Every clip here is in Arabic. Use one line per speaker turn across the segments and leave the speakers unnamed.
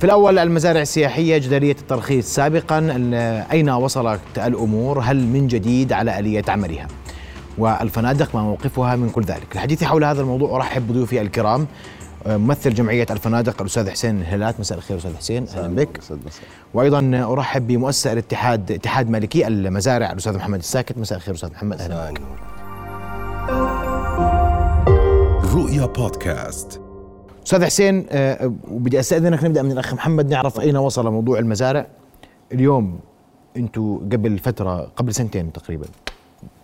في الأول المزارع السياحية جدارية الترخيص سابقا أين وصلت الأمور هل من جديد على آلية عملها والفنادق ما موقفها من كل ذلك الحديث حول هذا الموضوع أرحب بضيوفي الكرام ممثل جمعية الفنادق الأستاذ حسين الهلات مساء الخير أستاذ حسين أهلا بك وأيضا أرحب بمؤسس الاتحاد اتحاد مالكي المزارع الأستاذ محمد الساكت مساء الخير أستاذ محمد أهلا بك
رؤيا بودكاست
استاذ حسين أه، وبدي استاذنك نبدا من الاخ محمد نعرف اين وصل موضوع المزارع اليوم انتم قبل فتره قبل سنتين تقريبا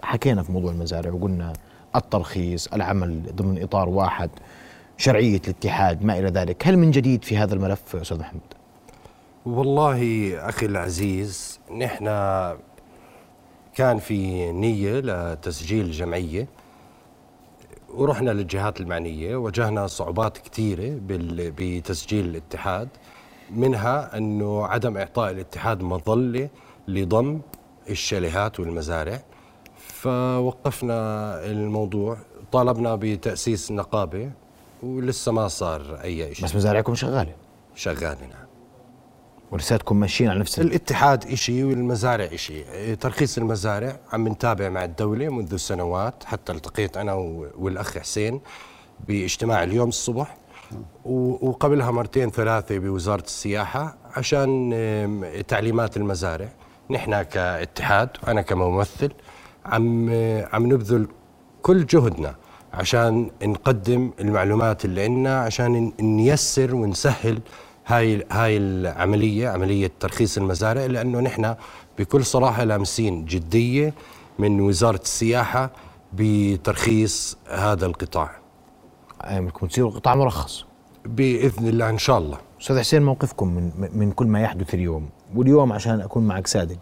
حكينا في موضوع المزارع وقلنا الترخيص العمل ضمن اطار واحد شرعيه الاتحاد ما الى ذلك هل من جديد في هذا الملف استاذ محمد
والله اخي العزيز نحن كان في نيه لتسجيل جمعيه ورحنا للجهات المعنية واجهنا صعوبات كثيرة بال- بتسجيل الاتحاد منها أنه عدم إعطاء الاتحاد مظلة لضم الشاليهات والمزارع فوقفنا الموضوع طالبنا بتأسيس نقابة ولسه ما صار أي شيء
بس مزارعكم شغاله
شغالنا
ولساتكم ماشيين على نفس ال-
الاتحاد إشي والمزارع إشي إيه، ترخيص المزارع عم نتابع مع الدولة منذ سنوات حتى التقيت أنا و- والأخ حسين باجتماع اليوم الصبح و- وقبلها مرتين ثلاثة بوزارة السياحة عشان إم، تعليمات المزارع نحن كاتحاد وأنا كممثل عم عم نبذل كل جهدنا عشان نقدم المعلومات اللي عندنا عشان ن- نيسر ونسهل هاي هاي العمليه عمليه ترخيص المزارع لانه نحن بكل صراحه لامسين جديه من وزاره السياحه بترخيص هذا القطاع
آه، بدكم تصيروا قطاع مرخص
باذن الله ان شاء الله
استاذ حسين موقفكم من من كل ما يحدث اليوم واليوم عشان اكون معك صادق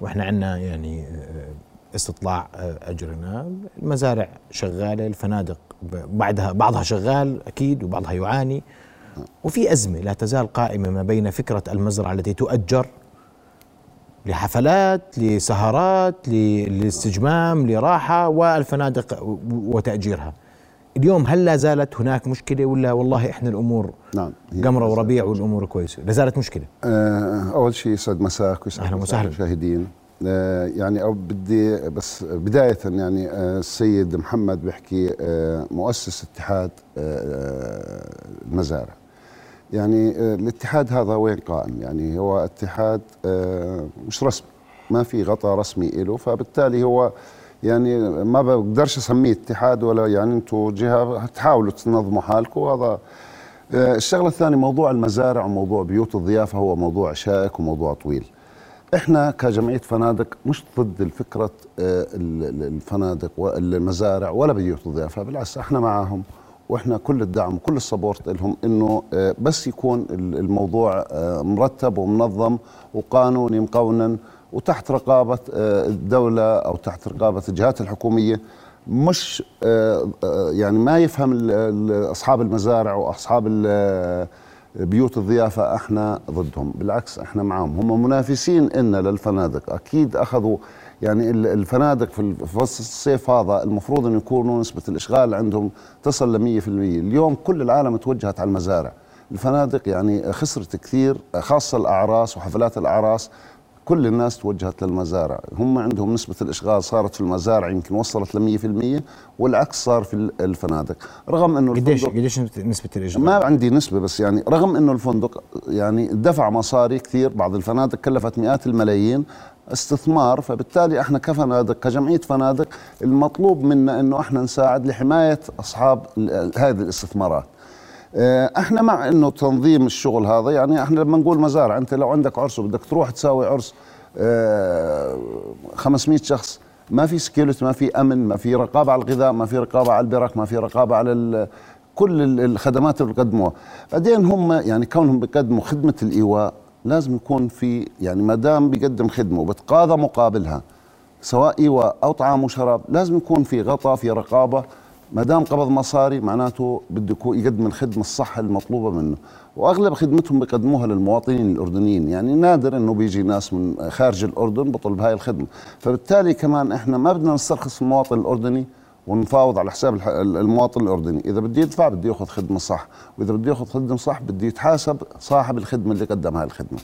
واحنا عندنا يعني آه، استطلاع آه، اجرنا المزارع شغاله الفنادق ب- بعدها بعضها شغال اكيد وبعضها يعاني وفي ازمه لا تزال قائمه ما بين فكره المزرعه التي تؤجر لحفلات لسهرات ل- للاستجمام لراحه والفنادق و- وتاجيرها اليوم هل لا زالت هناك مشكله ولا والله احنا الامور
نعم هي
قمره
مساء.
وربيع والامور كويسه لا زالت مشكله
آه، اول شيء يسعد مساك ويسعد
أهلاً
مساك
وسهلاً.
المشاهدين آه، يعني او بدي بس بدايه يعني آه، السيد محمد بيحكي آه، مؤسس اتحاد آه، المزارع يعني آه، الاتحاد هذا وين قائم يعني هو اتحاد آه، مش رسمي ما في غطاء رسمي له فبالتالي هو يعني ما بقدرش اسميه اتحاد ولا يعني انتم جهه تحاولوا تنظموا حالكم وهذا آه، الشغله الثانيه موضوع المزارع وموضوع بيوت الضيافه هو موضوع شائك وموضوع طويل احنا كجمعيه فنادق مش ضد فكره آه، ال- ال- الفنادق والمزارع ولا بيوت الضيافه بالعكس احنا معاهم واحنا كل الدعم وكل السبورت لهم انه آه، بس يكون ال- الموضوع آه، مرتب ومنظم وقانوني مقونن وتحت رقابه آه، الدوله او تحت رقابه الجهات الحكوميه مش آه، آه، يعني ما يفهم ال- ال- اصحاب المزارع واصحاب ال- بيوت الضيافه احنا ضدهم بالعكس احنا معاهم هم منافسين إلنا للفنادق اكيد اخذوا يعني ال- الفنادق في ال- في فصل الصيف هذا المفروض ان يكونوا نسبه الاشغال عندهم تصل ل 100% اليوم كل العالم توجهت على المزارع الفنادق يعني خسرت كثير خاصه الاعراس وحفلات الاعراس كل الناس توجهت للمزارع هم عندهم نسبة الإشغال صارت في المزارع يمكن وصلت ل 100% والعكس صار في ال- الفنادق رغم أنه
قديش
الفندق-
قديش نسبه الاجراء
ما عندي نسبة بس يعني رغم أنه الفندق يعني دفع مصاري كثير بعض الفنادق كلفت مئات الملايين استثمار فبالتالي احنا كفنادق كجمعية فنادق المطلوب منا أنه احنا نساعد لحماية أصحاب ال- هذه الاستثمارات آه، احنا مع انه تنظيم الشغل هذا يعني احنا لما نقول مزارع انت لو عندك عرس وبدك تروح تساوي عرس آه، 500 شخص ما في سكيلت ما في امن ما في رقابه على الغذاء ما في رقابه على البرك ما في رقابه على ال- كل ال- الخدمات اللي بيقدموها بعدين هم يعني كونهم بيقدموا خدمه الايواء لازم يكون في يعني ما دام بيقدم خدمه وبتقاضى مقابلها سواء ايواء او طعام وشراب لازم يكون في غطاء في رقابه ما دام قبض مصاري معناته بده يكون- يقدم الخدمه الصح المطلوبه منه واغلب خدمتهم بيقدموها للمواطنين الاردنيين يعني نادر انه بيجي ناس من خارج الاردن بطلب هاي الخدمه فبالتالي كمان احنا ما بدنا نسترخص المواطن الاردني ونفاوض على حساب الح- المواطن الاردني، اذا بده يدفع بده ياخذ خدمه صح، واذا بده ياخذ خدمه صح بده يتحاسب صاحب الخدمه اللي قدم هالخدمه.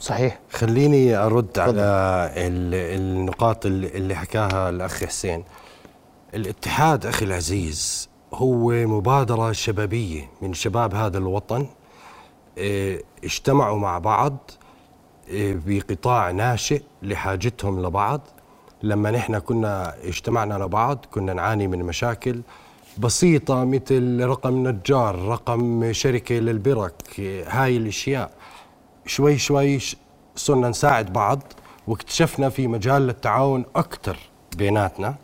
صحيح
خليني ارد على ال- النقاط اللي اللي حكاها الاخ حسين الاتحاد اخي العزيز هو مبادره شبابيه من شباب هذا الوطن إيه، اجتمعوا مع بعض إيه، بقطاع ناشئ لحاجتهم لبعض لما نحن كنا اجتمعنا لبعض كنا نعاني من مشاكل بسيطة مثل رقم نجار رقم شركة للبرك إيه، هاي الأشياء شوي شوي ش- صرنا نساعد بعض واكتشفنا في مجال للتعاون أكثر بيناتنا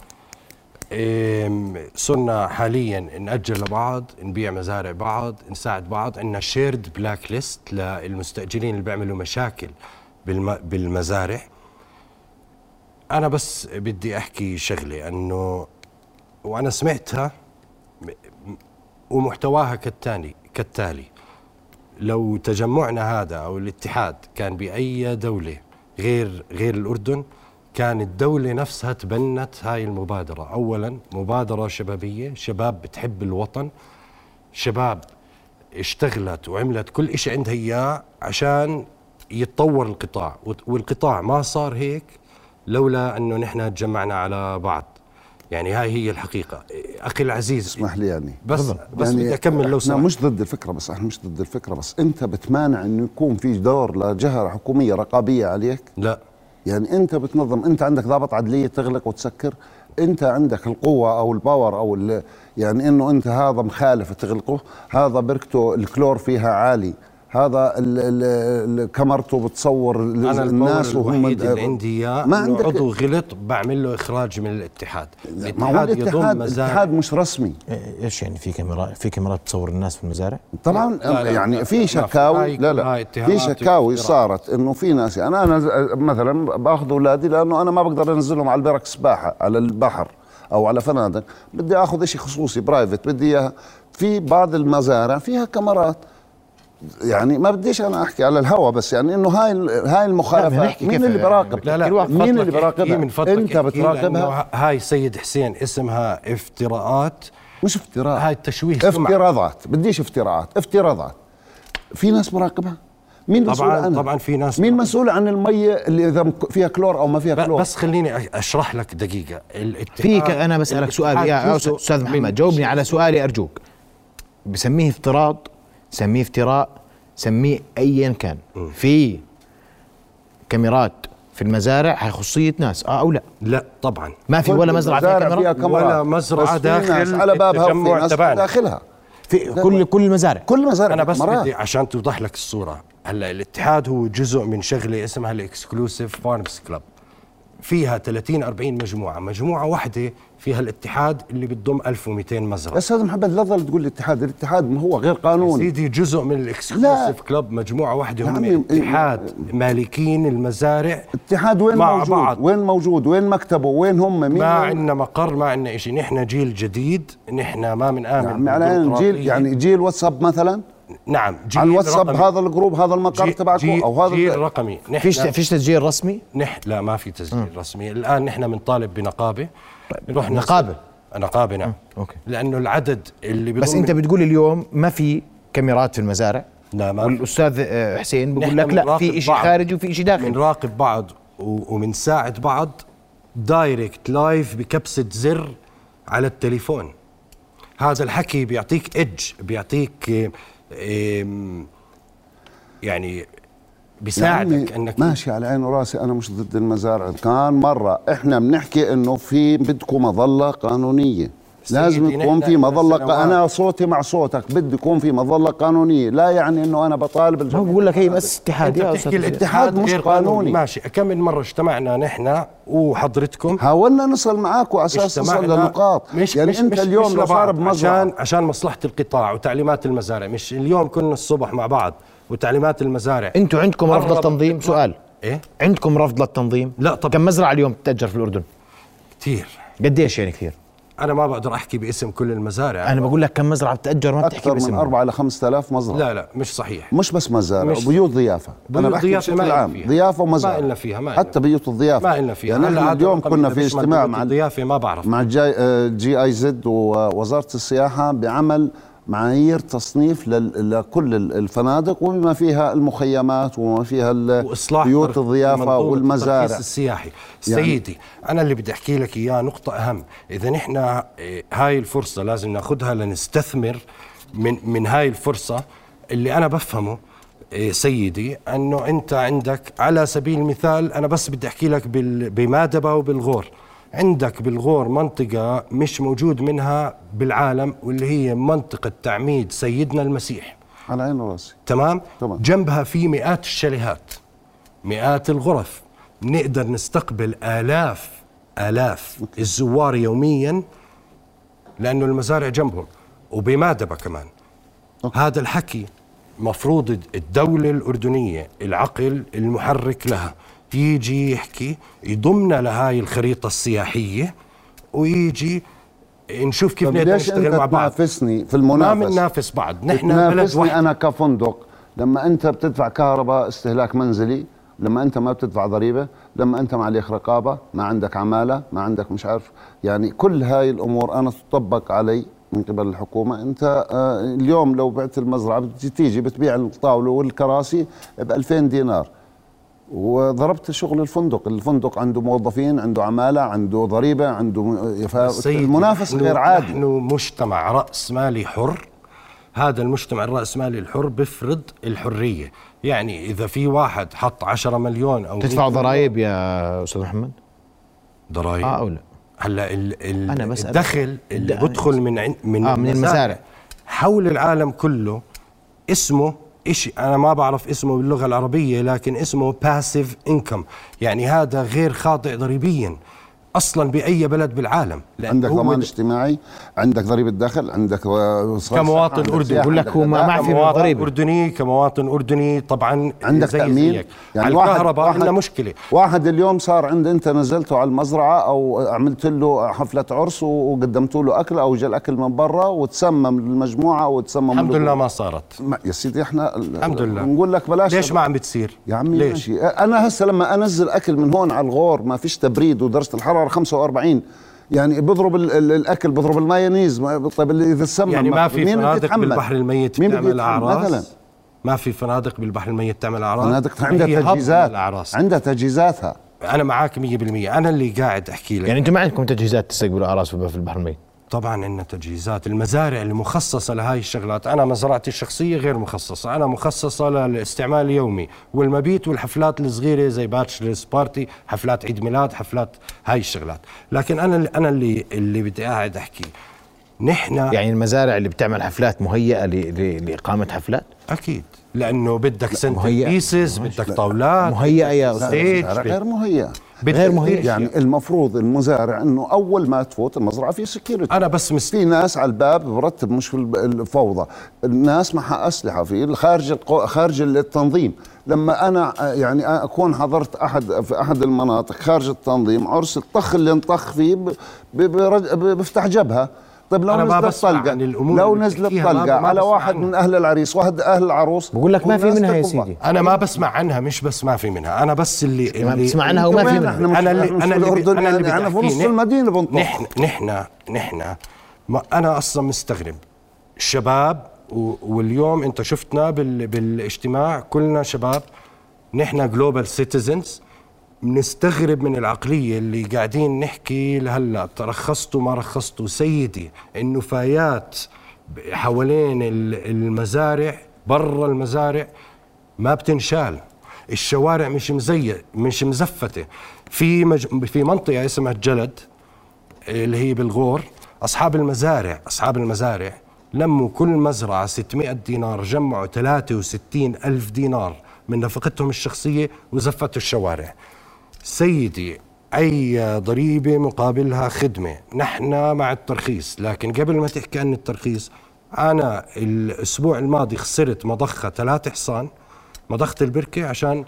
إم، صرنا حاليا نأجر لبعض نبيع مزارع بعض نساعد بعض عندنا شيرد بلاك ليست للمستأجرين اللي بيعملوا مشاكل بالم- بالمزارع أنا بس بدي أحكي شغلة أنه وأنا سمعتها م- م- ومحتواها كالتالي كالتالي لو تجمعنا هذا او الاتحاد كان باي دوله غير غير الاردن كان الدولة نفسها تبنت هاي المبادرة أولا مبادرة شبابية شباب بتحب الوطن شباب اشتغلت وعملت كل إشي عندها إياه عشان يتطور القطاع وت- والقطاع ما صار هيك لولا أنه نحن تجمعنا على بعض يعني هاي هي الحقيقة أخي العزيز
اسمح لي يعني
بس بس بدي أكمل لو
احنا
سمحت
مش ضد الفكره بس احنا مش ضد الفكره بس انت بتمانع انه يكون في دور لجهه حكوميه رقابيه عليك
لا
يعني انت بتنظم انت عندك ضابط عدليه تغلق وتسكر انت عندك القوه او الباور او ال- يعني انه انت هذا مخالف تغلقه هذا بركته الكلور فيها عالي هذا ال ال ال كاميرته بتصور
انا الناس
الناس وهم آه،
الوحيد اللي عندي اياه
ما
ما
عندك-
عضو غلط بعمل له اخراج من الاتحاد
ما هو
الاتحاد يضم
الاتحاد الاتحاد
مزارع
مش رسمي
إيه، ايش يعني في كاميرا في كاميرات تصور الناس في المزارع؟
طبعا
لا، لا،
يعني
لا،
في
لا،
شكاوي
هاي كلها
لا لا في
اتهامات
شكاوي
وافتراء.
صارت انه في ناس يعني انا نز- مثلا باخذ اولادي لانه انا ما بقدر انزلهم على البرك سباحه على البحر او على فنادق بدي اخذ شيء خصوصي برايفت بدي اياها في بعض المزارع فيها كاميرات يعني ما بديش انا احكي على الهوا بس يعني انه هاي ال- هاي
لا، بدنا
المخالفه
نحكي
مين
كيف
اللي
يعني
براقب
لا لا
مين اللي
براقبها؟ من
براقبها
فضلك
انت
احكي لأنه
بتراقبها
ه- هاي سيد حسين اسمها افتراءات
مش افتراء
هاي التشويه سمعة.
افتراضات بديش افتراءات افتراضات في ناس مراقبها مين
طبعاً-
مسؤول عنها
طبعاً في ناس
مين
مراقبة.
مسؤول عن المية اللي اذا مك- فيها كلور او ما فيها
ب-
كلور
بس خليني أ- اشرح لك دقيقه الاتحاد
في ك- انا بسالك سؤال
الاتحاد
يا
جزء
استاذ
من-
محمد جاوبني على سؤالي ارجوك بسميه افتراض سميه افتراء سميه ايا كان في كاميرات في المزارع هي خصوصيه ناس اه او لا
لا طبعا
ما في ولا مزرعه فيها
فيها
كاميرا
كاميرات
ولا مزرعة
بس في
داخل
ناس على بابها وفي
التجمع
ناس
تبعنا.
داخلها
في كل كل المزارع
كل مزارع
انا بس
كاميرات.
بدي عشان توضح لك الصوره هلا الاتحاد هو جزء من شغله اسمها الاكسكلوسيف فارمز كلاب فيها 30 40 مجموعه مجموعه واحده فيها الاتحاد اللي بتضم 1200 مزرعه
بس هذا محمد لا تظل تقول لي الاتحاد الاتحاد ما هو غير
يا
قانوني
سيدي جزء من الاكسكلوسيف كلاب مجموعه واحده هم
عمي،
الاتحاد مالكين المزارع
الاتحاد وين
مع
موجود
بعض.
وين موجود وين مكتبه وين هم مين
ما
وين-
عندنا مقر ما عندنا شيء نحن جيل جديد نحن ما بنآمن
يعني على جيل
بالديمقراطية.
يعني جيل واتساب مثلا
نعم جيل
على الواتساب
رقمي.
هذا الجروب هذا المقر
جي-
تبعكم
جي-
او هذا
جيل رقمي نحن
فيش فيش تسجيل رسمي
نح لا ما في تسجيل رسمي الان نحن بنطالب بنقابه نروح نس-
طيب، نقابة؟
نقابه نعم
أوكي.
لانه العدد اللي
بس
بضم-
انت بتقول اليوم ما في كاميرات في المزارع
لا ما في.
والاستاذ آه، حسين بيقول
نحن
لك لا
بنراقب
في شيء
بعض.
خارجي وفي شيء داخلي
بنراقب بعض و- وبنساعد بعض دايركت لايف بكبسه زر على التليفون هذا الحكي بيعطيك ايدج بيعطيك آه، آم، يعني بيساعدك
يعني
انك
ماشي على عيني وراسي انا مش ضد المزارع كان مره احنا بنحكي انه في بدكم مظله قانونيه
سيدي
لازم
نحن
يكون في
إحنا
مظله ق-
سنوات.
انا صوتي مع صوتك بده يكون في مظله قانونيه لا يعني انه انا بطالب
هو
الجمهور
بقول لك هي بس اتحاد
انت
يا
بتحكي
استاذ حسين.
الاتحاد
الاتحاد
مش
غير قانوني
قانوني.
ماشي كم من مره اجتمعنا نحن وحضرتكم
حاولنا نصل معاكم على اساس نصل
اجتمعنا
للنقاط
مش
يعني
مش
انت
مش
اليوم
مش
لو
لبعض،
صار بمزرعه
عشان عشان مصلحه القطاع وتعليمات المزارع مش اليوم كنا الصبح مع بعض وتعليمات المزارع
انتوا عندكم رفض
قرب
للتنظيم
الإطلاق.
سؤال
ايه
عندكم رفض للتنظيم
لا طبعا
كم مزرعه اليوم تتاجر في الاردن
كثير
قديش يعني كثير
انا ما بقدر احكي باسم كل المزارع
انا بقول لك كم مزرعه بتاجر ما بتحكي
اكثر من
باسمها
4 ل 5000 مزرعه
لا لا مش صحيح
مش بس مزارع
مش-
بيوت ضيافه انا
بيوت
بحكي
ضيافة ما
بشكل
إلنا
عام
فيها.
ضيافه ومزرعه
ما إلنا فيها، ما
حتى بيوت الضيافه
ما إلنا فيها
يعني
هلا
نحن
هذا
اليوم
الرقم
كنا
إذا
في
مش
اجتماع
مضبوط
مع
الضيافه ما بعرف
مع جي, آه، جي اي زد ووزاره السياحه بعمل معايير تصنيف لل- لكل ال- الفنادق وبما فيها المخيمات وما فيها ال-
واصلاح
بيوت
ترك-
الضيافه
منظومة
والمزارع يعني
الترخيص السياحي سيدي انا اللي بدي احكي لك اياه نقطه اهم اذا نحن إيه، هاي الفرصه لازم ناخذها لنستثمر من من هاي الفرصه اللي انا بفهمه إيه، سيدي انه انت عندك على سبيل المثال انا بس بدي احكي لك بال- بمادبه وبالغور عندك بالغور منطقه مش موجود منها بالعالم واللي هي منطقه تعميد سيدنا المسيح
على عين راسي
تمام؟
تمام.
جنبها في مئات الشاليهات مئات الغرف نقدر نستقبل آلاف آلاف الزوار يوميا لأنه المزارع جنبهم وبمادبة كمان
أوكي.
هذا الحكي مفروض الدولة الأردنية العقل المحرك لها يجي يحكي يضمنا لهاي الخريطة السياحية ويجي نشوف كيف
طب
نقدر
ليش انت
نشتغل مع بعض
تنافسني في
ما
المنافسه
بننافس بعض نحن بلد واحد
تنافسني انا كفندق لما انت بتدفع كهرباء استهلاك منزلي لما انت ما بتدفع ضريبه لما انت ما عليك رقابه ما عندك عماله ما عندك مش عارف يعني كل هاي الامور انا تطبق علي من قبل الحكومه انت آه، اليوم لو بعت المزرعه بتجي تيجي بتبيع الطاوله والكراسي ب 2000 دينار وضربت شغل الفندق الفندق عنده موظفين عنده عماله عنده ضريبه عنده م- ف-
سيدي،
المنافسه
نحن-
غير عادي
نحن مجتمع راس مالي حر هذا المجتمع الرأسمالي الحر بفرض الحرية يعني إذا في واحد حط عشرة مليون أو
تدفع
100
ضرائب يا استاذ محمد
ضرائب
اه او لا
هلا ال ال
أنا
أنا
بسألك.
الدخل اللي
لا، أنا
بدخل من عن- من,
آه، من المزارع.
حول العالم كله اسمه إشي أنا ما بعرف اسمه باللغة العربية لكن اسمه باسيف انكم يعني هذا غير خاطئ ضريبيا أصلا بأي بلد بالعالم لأن
عندك
هو
ضمان
د-
اجتماعي عندك ضريبه دخل عندك و- صرف
كمواطن
عندك
أردني.
سياحة،
بقول لك
عندك
هو ما- ما في
غذاء.
من
كمواطن
ضريبة.
اردني كمواطن اردني طبعا
عندك
زي
تامين
زيك. على
واحد-
الكهرباء
واحد-
عندنا مشكله
واحد اليوم صار عند انت نزلته على المزرعه او عملت له حفله عرس و- وقدمت له اكل او جا الاكل من برا وتسمم المجموعه وتسمم
الحمد
له-
لله ما صارت
ما- يا سيدي احنا ال-
الحمد لله
نقول لك بلاش
ليش ما عم بتصير
يا عمي
ليش
ماشي انا هسه لما انزل اكل من هون على الغور ما فيش تبريد ودرجه الحراره 45 يعني بضرب ال- ال- الاكل بضرب المايونيز ما- طيب اللي اذا سمم
يعني ما في
مين بده
فنادق
يتحمل؟
بالبحر الميت
مين بده
بتعمل
يتحمل؟
اعراس
مثلا
ما في فنادق بالبحر الميت تعمل اعراس
فنادق
هي
عندها
هب
تجهيزات
للاعراس
عندها تجهيزاتها
انا معاك 100% انا اللي قاعد احكي لك
يعني انتم ما عندكم تجهيزات تستقبلوا اعراس في البحر الميت
طبعا عندنا تجهيزات المزارع المخصصة لهاي الشغلات أنا مزرعتي الشخصية غير مخصصة أنا مخصصة للاستعمال اليومي والمبيت والحفلات الصغيرة زي باتشلرز بارتي حفلات عيد ميلاد حفلات هاي الشغلات لكن أنا اللي أنا اللي اللي بدي قاعد أحكي نحن
يعني المزارع اللي بتعمل حفلات مهيئه ل- ل- لاقامه حفلات
أكيد لأنه بدك سنتر
مهيئة.
بيسز بدك طاولات
مهيئه يا
لا.
استاذ
آه، إيه،
المزارع
بت-
غير مهيئة
بدك
غير مهيئة.
إيش
يعني المفروض المزارع انه اول ما تفوت المزرعه في سكيورتي
أنا بس مست...
في ناس على الباب برتب مش في الب- الفوضى الناس معها اسلحه في خارج القو... خارج التنظيم لما انا آه، يعني آه، اكون حضرت احد في احد المناطق خارج التنظيم عرس الطخ اللي انطخ فيه ب... ب... برج- ب... بفتح جبهه طيب لو
أنا ما
نزلت
بسمع
طلقه
عن الأمور
لو
اللي
نزلت
بتحكيها، ما-
طلقه
ما
على
بسمع
واحد
عنها.
من اهل العريس واحد اهل العروس
بقول لك ما في
والناس
منها يا
تقبض.
سيدي
أنا ما بسمع عنها مش بس ما في منها أنا بس اللي,
ما
اللي
بسمع عنها وما
وين
في منها
احنا مش
أنا اللي-
مش
أنا
في
اللي بدي- أنا
الاردن
اللي
يعني
بدي
احنا في
أحكيه.
نص
نح-
المدينه بنطلع
نحن نحن نحن ما انا اصلا مستغرب الشباب و- واليوم انت شفتنا بال بالاجتماع كلنا شباب نحن جلوبال سيتيزنز بنستغرب من العقلية اللي قاعدين نحكي لهلا رخصتوا ما رخصتوا سيدي النفايات ب- حوالين ال- المزارع برا المزارع ما بتنشال الشوارع مش مزية مش مزفتة في مج... في منطقة اسمها جلد اللي هي بالغور اصحاب المزارع اصحاب المزارع لموا كل مزرعه 600 دينار جمعوا 63 الف دينار من نفقتهم الشخصيه وزفتوا الشوارع سيدي اي ضريبه مقابلها خدمه نحن مع الترخيص لكن قبل ما تحكي عن الترخيص انا الاسبوع الماضي خسرت مضخه ثلاث حصان مضخه البركه عشان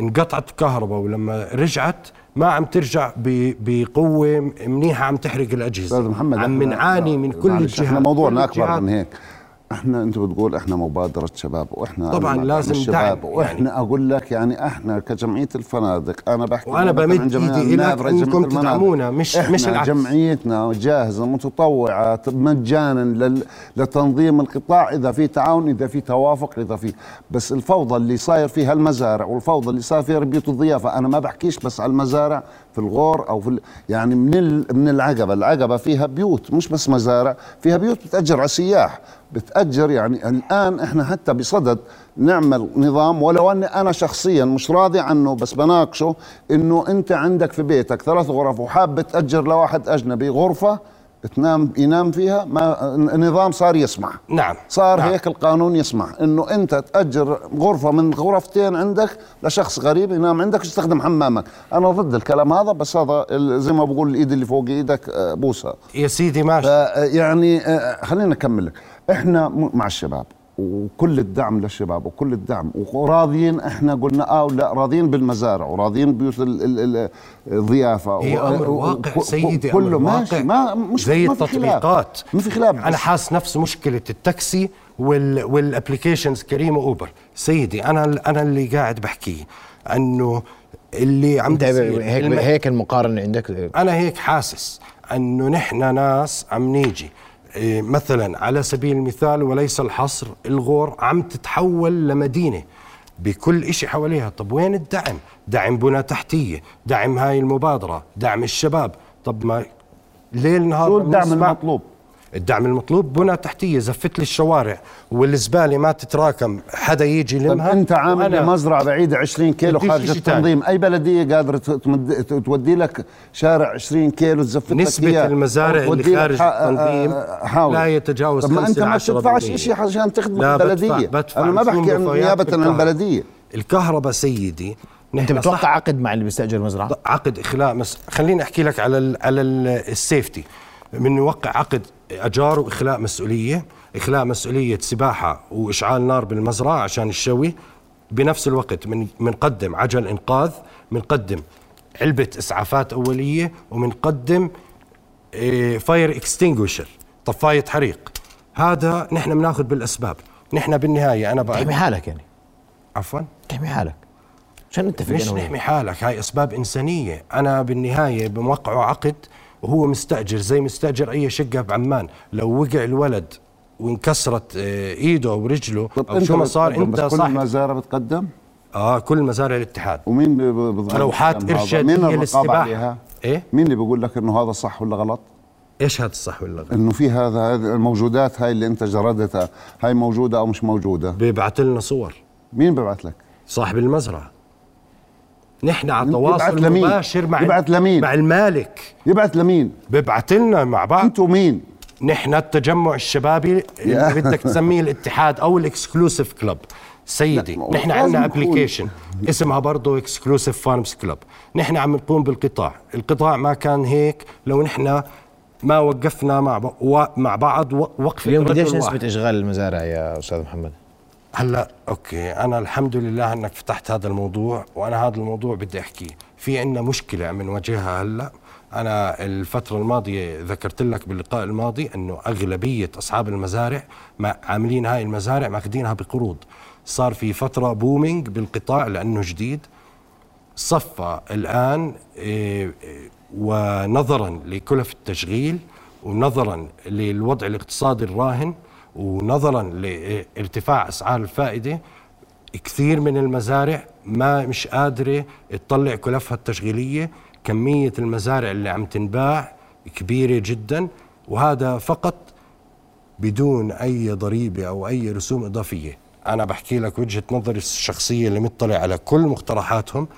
انقطعت الكهرباء ولما رجعت ما عم ترجع ب- بقوه منيحه عم تحرق الاجهزه
استاذ محمد
عم
إحنا-
نعاني من كل
معلش،
الجهات
احنا
كل
موضوعنا اكبر
الجهات.
من هيك احنا انت بتقول احنا مبادره شباب واحنا
طبعاً
أنا مع
لازم
دعم الشباب
دعم،
واحنا اقول لك يعني احنا كجمعيه الفنادق انا بحكي
وأنا
نيابة
بمد
عن جمعية
إيدي إلك
النابرة، جمعية
إنكم
المناطق.
تدعمونا، مش-
احنا
مش العكس.
جمعيتنا جاهزه متطوعه طب مجانا لل- لتنظيم القطاع اذا في تعاون اذا في توافق اذا في بس الفوضى اللي صاير فيها المزارع والفوضى اللي صاير فيها بيوت الضيافه انا ما بحكيش بس على المزارع في الغور او في ال- يعني من ال- من العقبه العقبه فيها بيوت مش بس مزارع فيها بيوت بتاجر على سياح بتاجر يعني الان احنا حتى بصدد نعمل نظام ولو اني انا شخصيا مش راضي عنه بس بناقشه انه انت عندك في بيتك ثلاث غرف وحاب تاجر لواحد اجنبي غرفه تنام ينام فيها ما النظام صار يسمع
نعم
صار
نعم.
هيك القانون يسمح انه انت تاجر غرفه من غرفتين عندك لشخص غريب ينام عندك ويستخدم حمامك انا ضد الكلام هذا بس هذا ال- زي ما بقول الايد اللي فوق ايدك آه، بوسه
يا سيدي ماشي
فيعني آه، خلينا نكمل لك احنا م- مع الشباب وكل الدعم للشباب وكل الدعم وراضيين احنا قلنا اه ولا راضيين بالمزارع وراضيين ببيوت ال- ال- ال- الضيافه
هي
و-
أمر
و-
واقع
وك-
سيدي، أمر
كله ماشي
واقع.
ما مش
زي
ما في خلاف.
التطبيقات.
ما في خلاف
انا
بس-
حاس نفس مشكله التاكسي وال والابلكيشنز كريم واوبر سيدي انا انا اللي قاعد بحكيه انه اللي عم
انت
بيصير
هيك
الم-
هيك المقارنه عندك
انا هيك حاسس انه نحن ناس عم نيجي إيه، مثلا على سبيل المثال وليس الحصر الغور عم تتحول لمدينه بكل إشي حواليها طب وين الدعم دعم بنى تحتية دعم هاي المبادرة دعم الشباب طب ما ليل نهار
شو
ما
الدعم
بنسمع-
المطلوب
الدعم المطلوب بنى تحتية زفت لي الشوارع والزبالة ما تتراكم حدا يجي
طب
يلمها
انت طيب، عامل لي
وأنا-
مزرعه بعيده 20 كيلو
بديش
خارج
إشي تاني.
التنظيم اي بلديه قادره ت- تمد- ت- تودي لك شارع 20 كيلو تزفت لك
نسبة
إياه.
المزارع اللي
تودي لك
خارج
حق-
التنظيم
آه، حاول.
لا يتجاوز
طب ما
5
انت
إلى
ما
10%.
بتدفعش شيء عشان تخدم
لا،
البلديه
بدفع- بدفع
انا ما
رسوم
بحكي عن
وفيات
نيابه عن
بالكهرباء.
البلديه
الكهرباء سيدي
انت
نحن
بتوقع
صح
عقد مع اللي بيستاجر المزرعه
عقد اخلاء مس... خليني احكي لك على ال... على ال- السيفتي من يوقع عقد اجار واخلاء مسؤوليه اخلاء مسؤوليه سباحه واشعال نار بالمزرعه عشان الشوي بنفس الوقت من منقدم عجل انقاذ منقدم علبه اسعافات اوليه ومنقدم فاير اكستنجوشر طفايه حريق هذا نحن بناخذ بالاسباب نحن بالنهايه انا
تحمي
بقى
حالك يعني
عفوا
تحمي حالك عشان نتفق
مش
انا وياك.
نحمي حالك هاي اسباب انسانيه انا بالنهايه بموقعه عقد وهو مستاجر زي مستاجر اي شقه بعمان لو وقع الولد وانكسرت آه، ايده ورجله او شو ما صار
بتقدم،
انت
بس كل
صاحب
المزارع بتقدم
اه كل مزارع الاتحاد
ومين بي- بي- بيظهر
لوحات
الكلام يعني هذا؟
إرشادية
مين الرقابة
للسباحة؟
عليها؟
إيه؟
مين اللي بيقول لك انه هذا صح ولا غلط؟
ايش هذا الصح ولا غلط
انه في هذا هذه الموجودات هاي اللي انت جردتها هاي موجوده او مش موجوده؟
بيبعث لنا صور
مين ببعث لك؟
صاحب المزرعه نحن على
يبعت
تواصل
لمين؟
مباشر مع
يبعت لمين؟
مع المالك
يبعث لمين؟
بيبعت لنا مع بعض
انتوا مين؟
نحن التجمع الشبابي
يا.
اللي بدك تسميه الاتحاد او الاكسكلوسيف كلب سيدي
لا، ما هو
نحن
لازم
عندنا
نقول.
ابلكيشن اسمها برضه اكسكلوسيف فارمز كلب نحن عم نقوم بالقطاع القطاع ما كان هيك لو نحن ما وقفنا مع ب... و... مع بعض و... وقف
اليوم قديش
رجل واحد.
نسبه اشغال المزارع يا استاذ محمد
هلا اوكي انا الحمد لله انك فتحت هذا الموضوع وانا هذا الموضوع بدي احكيه في عندنا مشكله عم نواجهها هلا انا الفتره الماضيه ذكرت لك باللقاء الماضي انه اغلبيه اصحاب المزارع ما عاملين هاي المزارع ماخذينها بقروض صار في فتره بومينج بالقطاع لانه جديد صفى الآن إيه، إيه، ونظرا لكلف التشغيل ونظرا للوضع الاقتصادي الراهن ونظرا لارتفاع أسعار الفائدة كثير من المزارع ما مش قادرة تطلع كلفها التشغيلية كمية المزارع اللي عم تنباع كبيرة جدا وهذا فقط بدون اي ضريبه او اي رسوم اضافيه انا بحكي لك وجهه نظري الشخصيه اللي مطلع على كل مقترحاتهم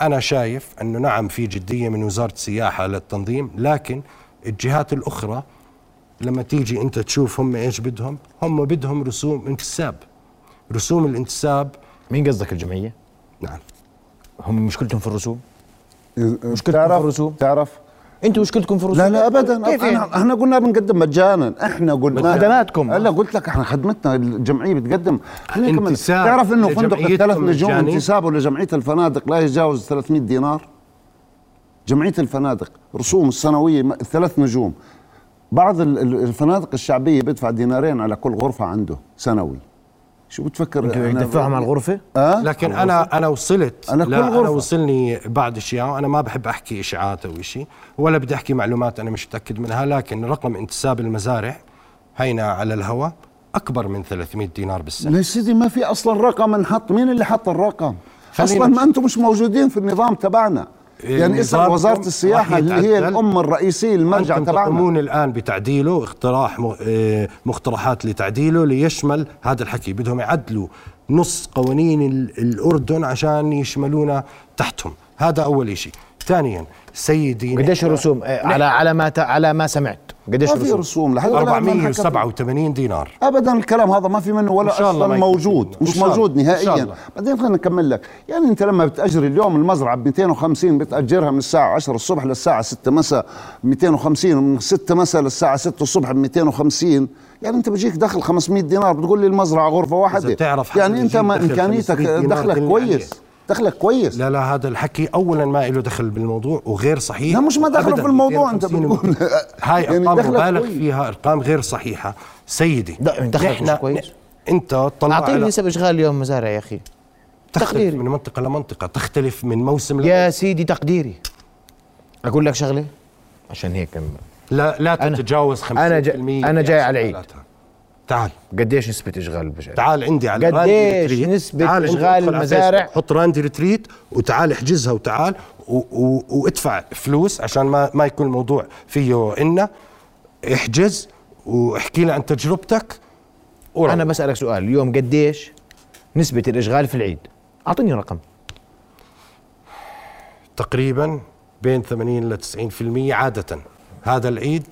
انا شايف انه نعم في جديه من وزاره السياحه للتنظيم لكن الجهات الاخرى لما تيجي انت تشوف هم ايش بدهم هم بدهم رسوم انتساب رسوم الانتساب
مين قصدك الجمعيه
نعم
هم مشكلتهم في الرسوم
مشكلة
في الرسوم؟
تعرف
انتم مشكلتكم في الرسوم
لا لا ابدا
كيف
احنا
يعني؟
احنا قلنا بنقدم مجانا احنا قلنا
خدماتكم.
هلا قلت لك احنا خدمتنا الجمعيه بتقدم خلينا كمان.
انتساب
تعرف انه فندق
لجمعيتكم
الثلاث نجوم
مجاني؟
انتسابه لجمعيه الفنادق لا يتجاوز 300 دينار جمعيه الفنادق رسوم السنويه م- الثلاث نجوم بعض ال- ال- الفنادق الشعبيه بيدفع دينارين على كل غرفه عنده سنوي شو بتفكر
انتوا يعني
أنا- آه؟
تدفعهم على الغرفه؟
لكن انا انا وصلت
أنا كل
لا انا
غرفة.
وصلني بعض الاشياء وانا ما بحب احكي اشاعات او شيء ولا بدي احكي معلومات انا مش متاكد منها لكن رقم انتساب المزارع هينا على الهواء اكبر من 300 دينار بالسنه
لا يا سيدي ما في اصلا رقم انحط مين اللي حط الرقم
خلينا
اصلا
نشوف.
ما انتم مش موجودين في النظام تبعنا
إيه،
يعني اسال
نظامكم
وزاره السياحه
راح
اللي هي
يتعدل.
الام الرئيسيه المرجع
انتم
تبعنا
تقومون الان بتعديله اقتراح م- آه، مقترحات لتعديله ليشمل هذا الحكي بدهم يعدلوا نص قوانين ال- الاردن عشان يشملونا تحتهم هذا اول شيء ثانيا سيدي
قديش الرسوم؟ آه، على على ما ت- على ما سمعت قديش
ما في
الرسوم؟
رسوم لحد الآن ما انحكى فيه.
487 دينار
ابدا الكلام هذا ما في منه ولا
إن شاء الله ما
اصلا
يكون
موجود
فيه. إن
مش
شاء الله.
موجود
إن شاء
نهائيا
الله.
بعدين خلينا نكمل لك يعني انت لما بتاجري اليوم المزرعه ب 250 بتاجرها من الساعه 10 الصبح للساعه 6 مساء 250 ومن 6 مساء للساعه 6 الصبح ب 250 يعني انت بيجيك دخل 500 دينار بتقول لي المزرعه غرفه واحده
إذا بتعرف حد
يعني انت
يجيب
ما
دخل
امكانيتك
500 دينار
دخلك
دلني
كويس
عليه.
دخلك كويس
لا لا هذا الحكي اولا ما له دخل بالموضوع وغير صحيح
لا مش ما دخله
أبداً.
في الموضوع انت
250
بتقول
هاي
يعني
ارقام
دخلك
مبالغ
كويس.
فيها ارقام غير صحيحه سيدي
لا، من دخلك
نحن-
مش كويس.
انت طلع
اعطيني
على-
نسب اشغال اليوم مزارع يا اخي
تختلف
تقريري.
من منطقه لمنطقه تختلف من موسم
يا سيدي تقديري اقول لك شغله عشان هيك
لا لا
أنا-
تتجاوز 50%
أنا جا- أنا جاي على العيد.
استقلالاتها. تعال
قديش نسبه اشغال بشكل
تعال عندي على
قديش
راندي ريتريت.
نسبة
تعال عندي،
إشغال
ادخل على
المزارع؟
فيسبوك، حط راندي ريتريت وتعال احجزها وتعال و و وادفع فلوس عشان ما ما يكون الموضوع فيه إنا احجز واحكي لي عن تجربتك وروح.
انا بسالك سؤال اليوم قديش نسبه الاشغال في العيد اعطيني رقم
تقريبا بين 80 ل 90% عاده هذا العيد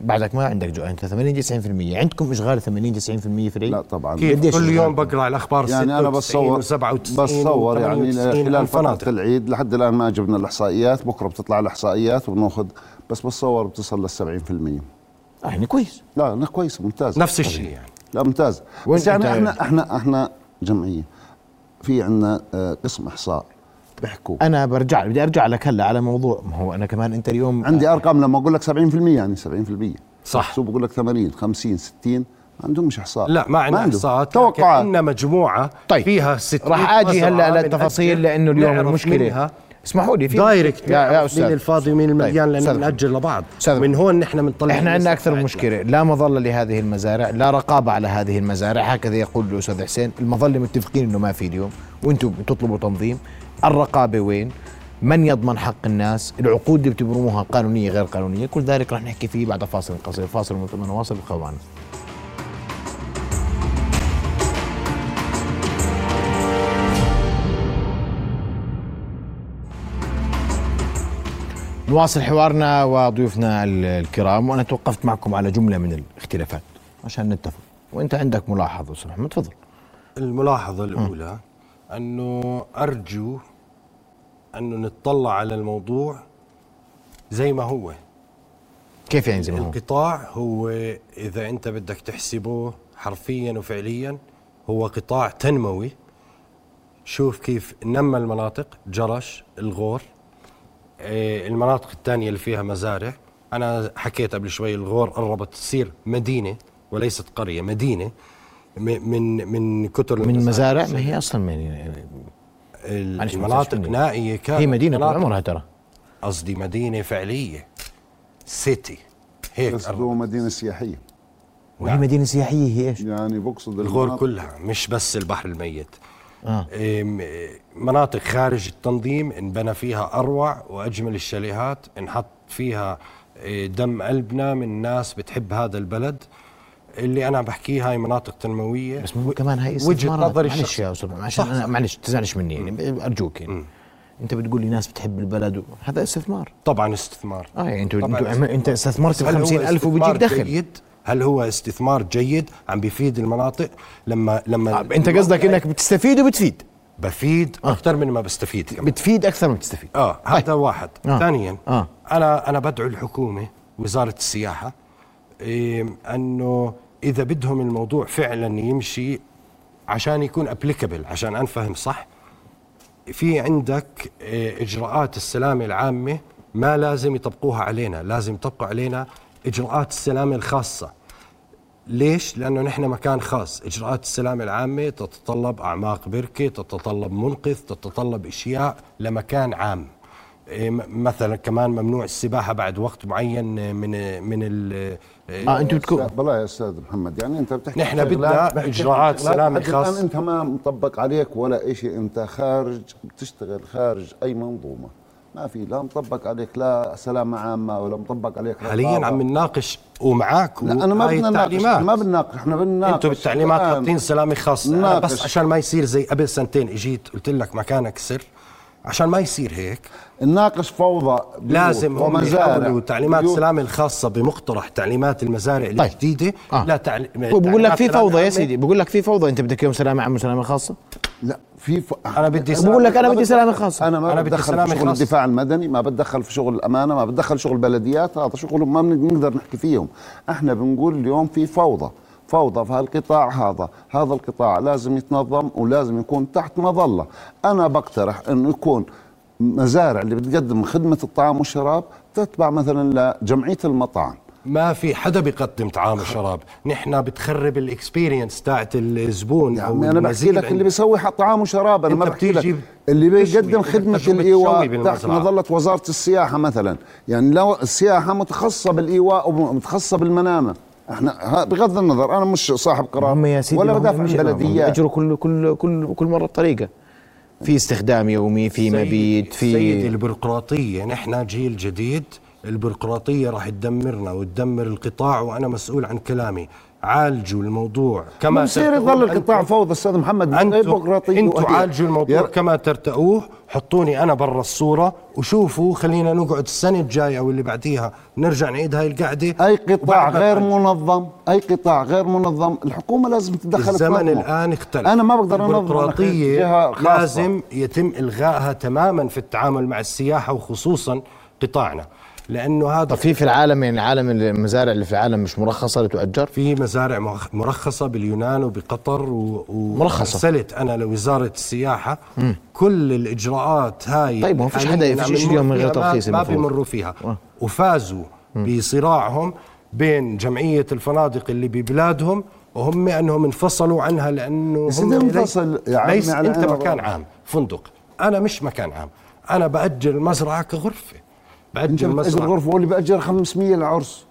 بعدك ما عندك جو انت 80 90% عندكم اشغال 80 90% في العيد
لا طبعا
كيف
قديش
كل
الإشغال؟
يوم بقرا على الاخبار
يعني انا
96
بتصور
و97
بتصور يعني
و98
خلال فتره
والفنادق.
العيد لحد الان ما جبنا الاحصائيات بكره بتطلع الاحصائيات وبناخذ بس بتصور بتصل لل 70%
آه يعني كويس
لا لا كويس ممتاز
نفس الشيء إيه؟ يعني
لا ممتاز
وين
بس يعني
أنت-
احنا احنا احنا جمعيه في عندنا آه، قسم احصاء بيحكوا
انا برجع بدي ارجع لك هلا على موضوع ما هو انا كمان انت اليوم
عندي ارقام لما اقول لك 70% يعني 70%
صح.
شو بقول لك 80 50 60 ما عندهمش احصاء
لا ما عندنا
عنده.
احصاءات
توقعات
عندنا مجموعه
طيب
فيها 600
راح اجي
مزرعة
هلا
من
للتفاصيل
أجل
لانه اليوم
نعرف
المشكله
منها
اسمحوا لي في
دايركت
يا, يا
مين
استاذ
الفاضي ومين المليان لان
أستاذ.
ناجل لبعض
أستاذ.
من هون نحن بنطلع
احنا
الناس
عندنا اكثر من
تبعتنا.
مشكله لا مظله لهذه المزارع لا رقابه على هذه المزارع هكذا يقول الاستاذ حسين المظله متفقين انه ما في اليوم وانتم بتطلبوا تنظيم الرقابه وين من يضمن حق الناس العقود اللي بتبرموها قانونيه غير قانونيه كل ذلك رح نحكي فيه بعد فاصل قصير فاصل ومن واصل بقوانا نواصل حوارنا وضيوفنا ال- الكرام وانا توقفت معكم على جمله من الاختلافات عشان نتفق وانت عندك ملاحظه استاذ محمد تفضل
الملاحظه الاولى انه ارجو انه نتطلع على الموضوع زي ما هو
كيف يعني زي ما هو؟
القطاع هو اذا انت بدك تحسبه حرفيا وفعليا هو قطاع تنموي شوف كيف نمى المناطق جرش الغور آه، المناطق الثانيه اللي فيها مزارع انا حكيت قبل شوي الغور قربت تصير مدينه وليست قريه مدينه م- من من كثر
من
المزارع.
مزارع ما هي اصلا من
ال-
معلش ما
المناطق
تسألني.
نائيه كانت
هي مدينه طول
مناطق-
عمرها ترى
قصدي مدينه فعليه سيتي هيك
بس
قربت.
هو مدينه سياحيه
وهي مدينه سياحيه هي ايش؟
يعني بقصد
الغور
المناطق-
كلها مش بس البحر الميت
آه.
إم- إيه، مناطق خارج التنظيم انبنى فيها اروع واجمل الشاليهات انحط فيها إيه، دم قلبنا من ناس بتحب هذا البلد اللي انا بحكيه هاي مناطق تنمويه
بس ممكن كمان هي
وجهه
استثمارات
نظري
معلش يا
الشخصية.
استاذ عشان
صح،
انا
صح.
معلش تزعلش مني يعني ارجوك يعني انت بتقول لي ناس بتحب البلد و... هذا استثمار
طبعا استثمار
اه يعني انت
طبعاً
انت, انت استثمرت ب
هل هو
50000 وبتجيك
استثمار
دخل
جيد هل هو استثمار جيد عم بيفيد المناطق لما لما
آه، انت قصدك آه. انك بتستفيد وبتفيد
بفيد اكثر من ما بستفيد كمان.
بتفيد اكثر ما بتستفيد
اه هذا واحد
آه.
ثانيا
آه.
انا انا بدعو الحكومه وزاره السياحه إيه، انه اذا بدهم الموضوع فعلا يمشي عشان يكون ابليكابل عشان انفهم صح في عندك إيه، اجراءات السلامه العامه ما لازم يطبقوها علينا لازم يطبقوا علينا اجراءات السلامه الخاصه ليش؟ لأنه نحن مكان خاص إجراءات السلامة العامة تتطلب أعماق بركة تتطلب منقذ تتطلب إشياء لمكان عام إيه، م- مثلا كمان ممنوع السباحة بعد وقت معين إيه، من من ال إيه،
اه
أيوة،
انتم بتكون
بلا يا استاذ محمد يعني انت بتحكي
نحن
عن شغلات-
بدنا
بتحكي عن
إجراعات
شغلات
سلامة
لحد الآن
خاصة.
انت ما مطبق عليك ولا شيء انت خارج بتشتغل خارج اي منظومه ما في لا مطبق عليك لا سلامه عامه ولا مطبق عليك
حاليا
رقابة.
عم نناقش ومعك
آه. لا انا ما
وهاي
بدنا آه. نناقش
التعليمات.
إحنا ما بنناقش احنا بنناقش
انتم بالتعليمات
الآن.
حاطين سلامه خاصه أنا بس
ناقش.
عشان ما يصير زي قبل سنتين اجيت قلت لك مكانك سر عشان ما يصير هيك
نناقش فوضى بيوت
لازم هم
ومزارع.
يحولوا تعليمات
بيوت-
السلامه الخاصه بمقترح تعليمات المزارع
طيب.
الجديده
آه.
لا تعلي...
وبقول لك
تعليمات
في
سلامة
فوضى يا
عامة.
سيدي بقول لك في فوضى انت بدك يوم سلامه عامه وسلامه خاصه
لا في ف...
انا بدي سلامة.
بقول لك انا بدي سلامه خاصه
انا ما
أنا بدي
بتدخل
سلامة
في شغل
خاصة.
الدفاع المدني ما بتدخل في شغل الامانه ما بتدخل شغل البلديات هذا شغل ما بن- بنقدر نحكي فيهم احنا بنقول اليوم في فوضى فوضى في هالقطاع هذا هذا القطاع لازم يتنظم ولازم يكون تحت مظله انا بقترح انه يكون مزارع اللي بتقدم خدمه الطعام والشراب تتبع مثلا لجمعيه المطاعم
ما في حدا بيقدم طعام وشراب نحن بتخرب الاكسبيرينس تاعت الزبون
يا
او
عمي انا نعم، بحكي
النزيل
لك اللي
عند-
بيسوي ح- طعام وشراب انا
أنت
ما بحكي
بتيجي
لك اللي
بتشوي،
بيقدم
أنت
خدمه
بتشوي
الايواء تحت
بالمزرعة.
مظله وزاره السياحه مثلا يعني لو السياحه متخصصه بالايواء ومتخصصه بالمنامه احنا ها- بغض النظر انا مش صاحب قرار
هم يا سيدي
ولا
ما هم
بدافع عن
مش- ما هم
البلديات
اجروا كل كل كل كل مره طريقه في استخدام يومي في مبيت
سيد
في
البيروقراطية نحن جيل جديد البيروقراطية راح تدمرنا وتدمر القطاع وأنا مسؤول عن كلامي عالجوا الموضوع كما
ما بصير يظل القطاع فوضى استاذ محمد
أنتم
بيروقراطية
أنتوا
وهي-
عالجوا الموضوع
يا-
كما ترتئوه حطوني أنا برا الصورة وشوفوا خلينا نقعد السنة الجاية أو اللي بعديها نرجع نعيد هاي القعدة
اي قطاع
وبعد ما
غير
تعالجوا.
منظم اي قطاع غير منظم الحكومه لازم تتدخل
الزمن
تنظمه.
الان اختلف
انا ما بقدر انظم أنا
البيروقراطيه
جهة خاصة.
لازم يتم الغائها تماما في التعامل مع السياحه وخصوصا قطاعنا لانه هذا
طب في في العالم يعني العالم المزارع اللي في العالم مش مرخصه اللي تؤجر
في مزارع مرخ- مرخصه باليونان وبقطر و... و-
مرخصة.
ارسلت انا لوزاره السياحه مم. كل الاجراءات هاي
طيب، ما فيش
حالياً
حدا- فيش
عم
شيء
نمر
اليوم من غير
فيها ما-
ترخيص
ما
المفروض.
بيمروا فيها
آه.
وفازوا بصراعهم بين جمعيه الفنادق اللي ببلادهم وهم انهم انفصلوا عنها لانه
يا سيدي
هم ليس-
انفصل يا عمي
ليس
على
انت
عيني
مكان
وراسي.
عام فندق انا مش مكان عام انا باجر المزرعه كغرفه
انت
باجر
بتاجر
مزرعه
غرفه واللي باجر 500 العرس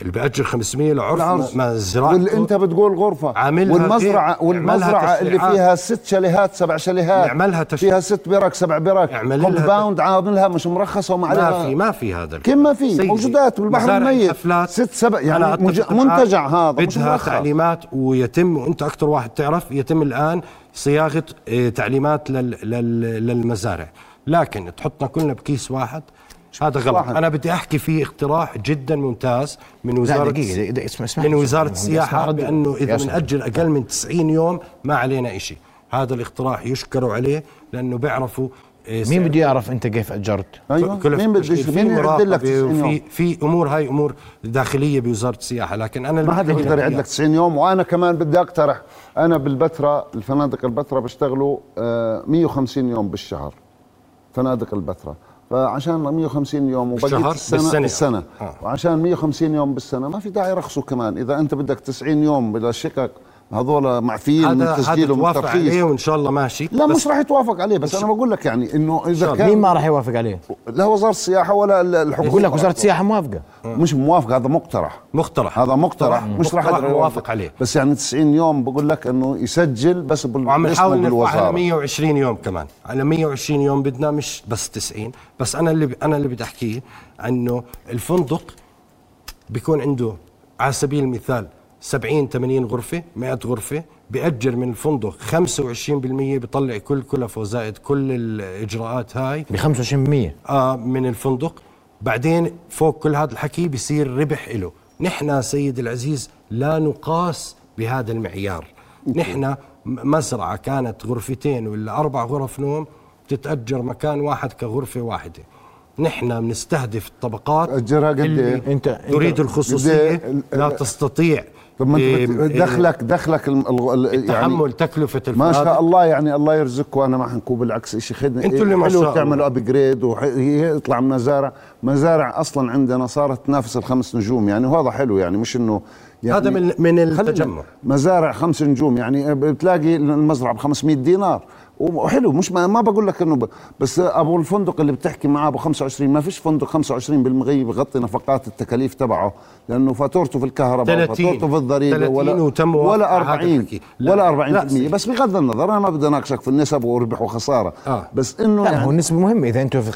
اللي باجر 500 لعرف
العرس.
مزرعه
واللي انت بتقول غرفه
عاملها
والمزرعه
غير-
والمزرعه
اعملها
اللي
تشريعات.
فيها ست شاليهات سبع شاليهات
اعملها تشريع.
فيها ست برك سبع برك
اعمل لها
كومباوند عاملها مش مرخصه وما عليها
ما في ما في هذا الكلام.
كيف ما في؟
سيدي،
موجودات بالبحر
مزارع
الميت.
الحفلات
ست سبع- يعني
أنا أتفق معك.
مج- منتجع هذا، مش
بدها
مرخص.
تعليمات ويتم وانت اكثر واحد تعرف يتم الان صياغه آه، تعليمات لل لل للمزارع لكن تحطنا كلنا بكيس واحد هذا غلط
واحد.
انا بدي احكي في اقتراح جدا ممتاز من وزاره
دقيقة، دقيقة، اسمع- اسمح
من
لي.
وزاره
اسمح لي.
السياحه
اسمح لي.
بانه
يا
اذا
سيدي.
بنأجل اقل من 90 يوم ما علينا شيء هذا الاقتراح يشكروا عليه لانه بيعرفوا آه،
مين بده يعرف انت كيف اجرت
ايوه
كلف
مين بده
تشغيل.
يشوف؟
في
مين يعدل لك
مراقبة
90 يوم؟
وفي في امور هاي امور داخليه بوزاره السياحه لكن انا
ما حدا بيقدر يعد لك 90 يوم وانا كمان بدي اقترح انا بالبتراء الفنادق البتراء بيشتغلوا آه، 150 يوم بالشهر فنادق البتراء فعشان 150 يوم وبقيت
بالشهر؟
السنه
بالسنة.
السنه
آه.
وعشان 150 يوم بالسنه ما في داعي يرخصوا كمان اذا انت بدك 90 يوم بلا شقق هذول معفيين من
هذا هذا
التسجيل ومن
توافق عليه
الترخيص
وان شاء الله ماشي
لا
بس
مش راح يتوافق عليه بس انا بقول لك يعني انه اذا
مين
كان
ما راح يوافق عليه
لا وزاره السياحه ولا ال- الحكومه
بقول لك وزاره السياحه موافقه
مش موافق هذا مقترح
مقترح
هذا مقترح مش راح أقدر
اوافق عليه
بس يعني 90 يوم بقول لك انه يسجل بس بال-
وعم نحاول
باسمه
نرفع على
بالوزاره
120 يوم كمان على 120 يوم بدنا مش بس 90 بس انا اللي انا اللي بدي احكيه انه الفندق بيكون عنده على سبيل المثال 70 80 غرفه 100 غرفه بيأجر من الفندق 25% بيطلع كل كلف وزائد كل الاجراءات هاي
ب 25%
آه، من الفندق بعدين فوق كل هذا الحكي بيصير ربح له نحن سيد العزيز لا نقاس بهذا المعيار نحن م- مزرعة كانت غرفتين ولا أربع غرف نوم تتأجر مكان واحد كغرفة واحدة نحن بنستهدف الطبقات
اجرها قد ايه؟
انت انت-
إيه. تريد
بدي-
الخصوصية
ال-
لا
ال-
تستطيع
طب ما
إيه،
انت بت-
إيه،
دخلك دخلك الم- الغ- ال- يعني
تحمل تكلفة
ما شاء
الفنادق
الله يعني الله يرزقكم وانا ما حنكون بالعكس شيء خدمه
انتوا اللي ما شاء
حلو
الله.
تعملوا ابجريد ويطلع مزارع مزارع اصلا عندنا صارت تنافس الخمس نجوم يعني وهذا حلو يعني مش انه يعني
هذا من من
خلينا-
التجمع
مزارع خمس نجوم يعني بتلاقي المزرعه ب 500 دينار وحلو مش ما, ما بقول لك انه ب... بس ابو الفندق اللي بتحكي معاه ابو 25 ما فيش فندق 25 بالمغيب يغطي نفقات التكاليف تبعه لانه فاتورته في الكهرباء
30
وفاتورته في الضريبه
30
ولا
وتم وقف
ولا
على هذا
40
الحكي. لا،
ولا
لا،
40% بس بغض النظر انا ما بدي اناقشك في النسب وربح وخساره
آه.
بس انه
لا هو
يعني
النسبة مهمة إذا أنتم في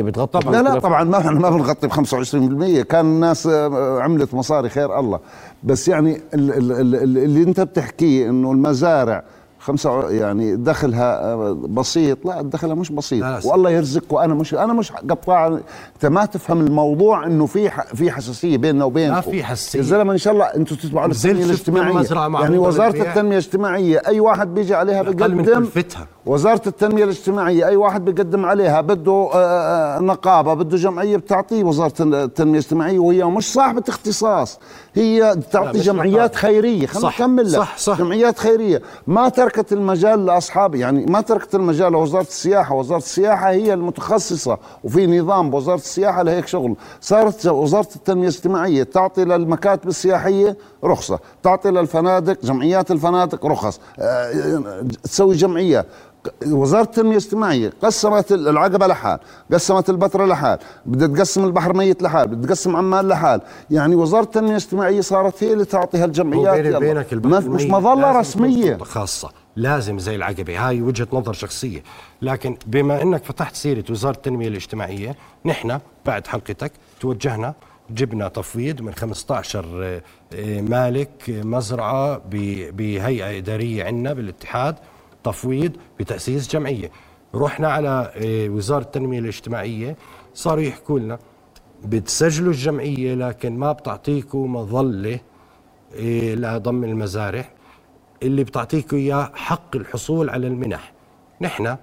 25% بتغطوا
لا لا طبعا ما احنا ما بنغطي ب 25% كان الناس آه، عملت مصاري خير الله بس يعني ال- ال- ال- ال- اللي انت بتحكيه انه المزارع خمسة وع- يعني دخلها آه، بسيط لا دخلها مش بسيط
لا، لا،
والله يرزقك وانا مش انا مش قطاع انت ما تفهم الموضوع انه في ح- في حساسيه بيننا وبينكم
ما في حساسية.
يا زلمه ان شاء الله انتم تتبعوا
نزلت
التنميه
شفت المزرعة
الاجتماعيه
معروضة
يعني وزاره
للبيع.
التنميه الاجتماعيه اي واحد بيجي عليها
أقل من
بيقدم
كلفتها.
وزارة التنمية الاجتماعية أي واحد بيقدم عليها بده آه، آه، نقابة بده جمعية بتعطيه وزارة التنمية الاجتماعية وهي مش صاحبة اختصاص هي
لا،
تعطي
مش
جمعيات
نقابة.
خيرية خلينا
صح،
نكمل لك
صح، صح.
جمعيات خيرية ما تركت المجال لأصحاب يعني ما تركت المجال لوزارة السياحة وزارة السياحة هي المتخصصة وفي نظام بوزارة السياحة لهيك شغل صارت وزارة التنمية الاجتماعية تعطي للمكاتب السياحية رخصة تعطي للفنادق جمعيات الفنادق رخص آه، تسوي جمعية وزارة التنمية الاجتماعية قسمت العقبة لحال قسمت البتراء لحال بدها تقسم البحر ميت لحال بدها تقسم عمان لحال يعني وزارة التنمية الاجتماعية صارت هي اللي تعطي هالجمعيات
وبيني
يلا.
وبينك
ما- مش مظلة رسمية
خاصة لازم زي العقبة هاي وجهة نظر شخصية لكن بما أنك فتحت سيرة وزارة التنمية الاجتماعية نحن بعد حلقتك توجهنا جبنا تفويض من 15 آه، آه، مالك آه، مزرعة ب- بهيئة إدارية عندنا بالاتحاد تفويض بتأسيس جمعية رحنا على آه، وزارة التنمية الاجتماعية صاروا يحكوا لنا بتسجلوا الجمعية لكن ما بتعطيكوا مظلة إيه، لضم المزارع اللي بتعطيكم اياه حق الحصول على المنح نحن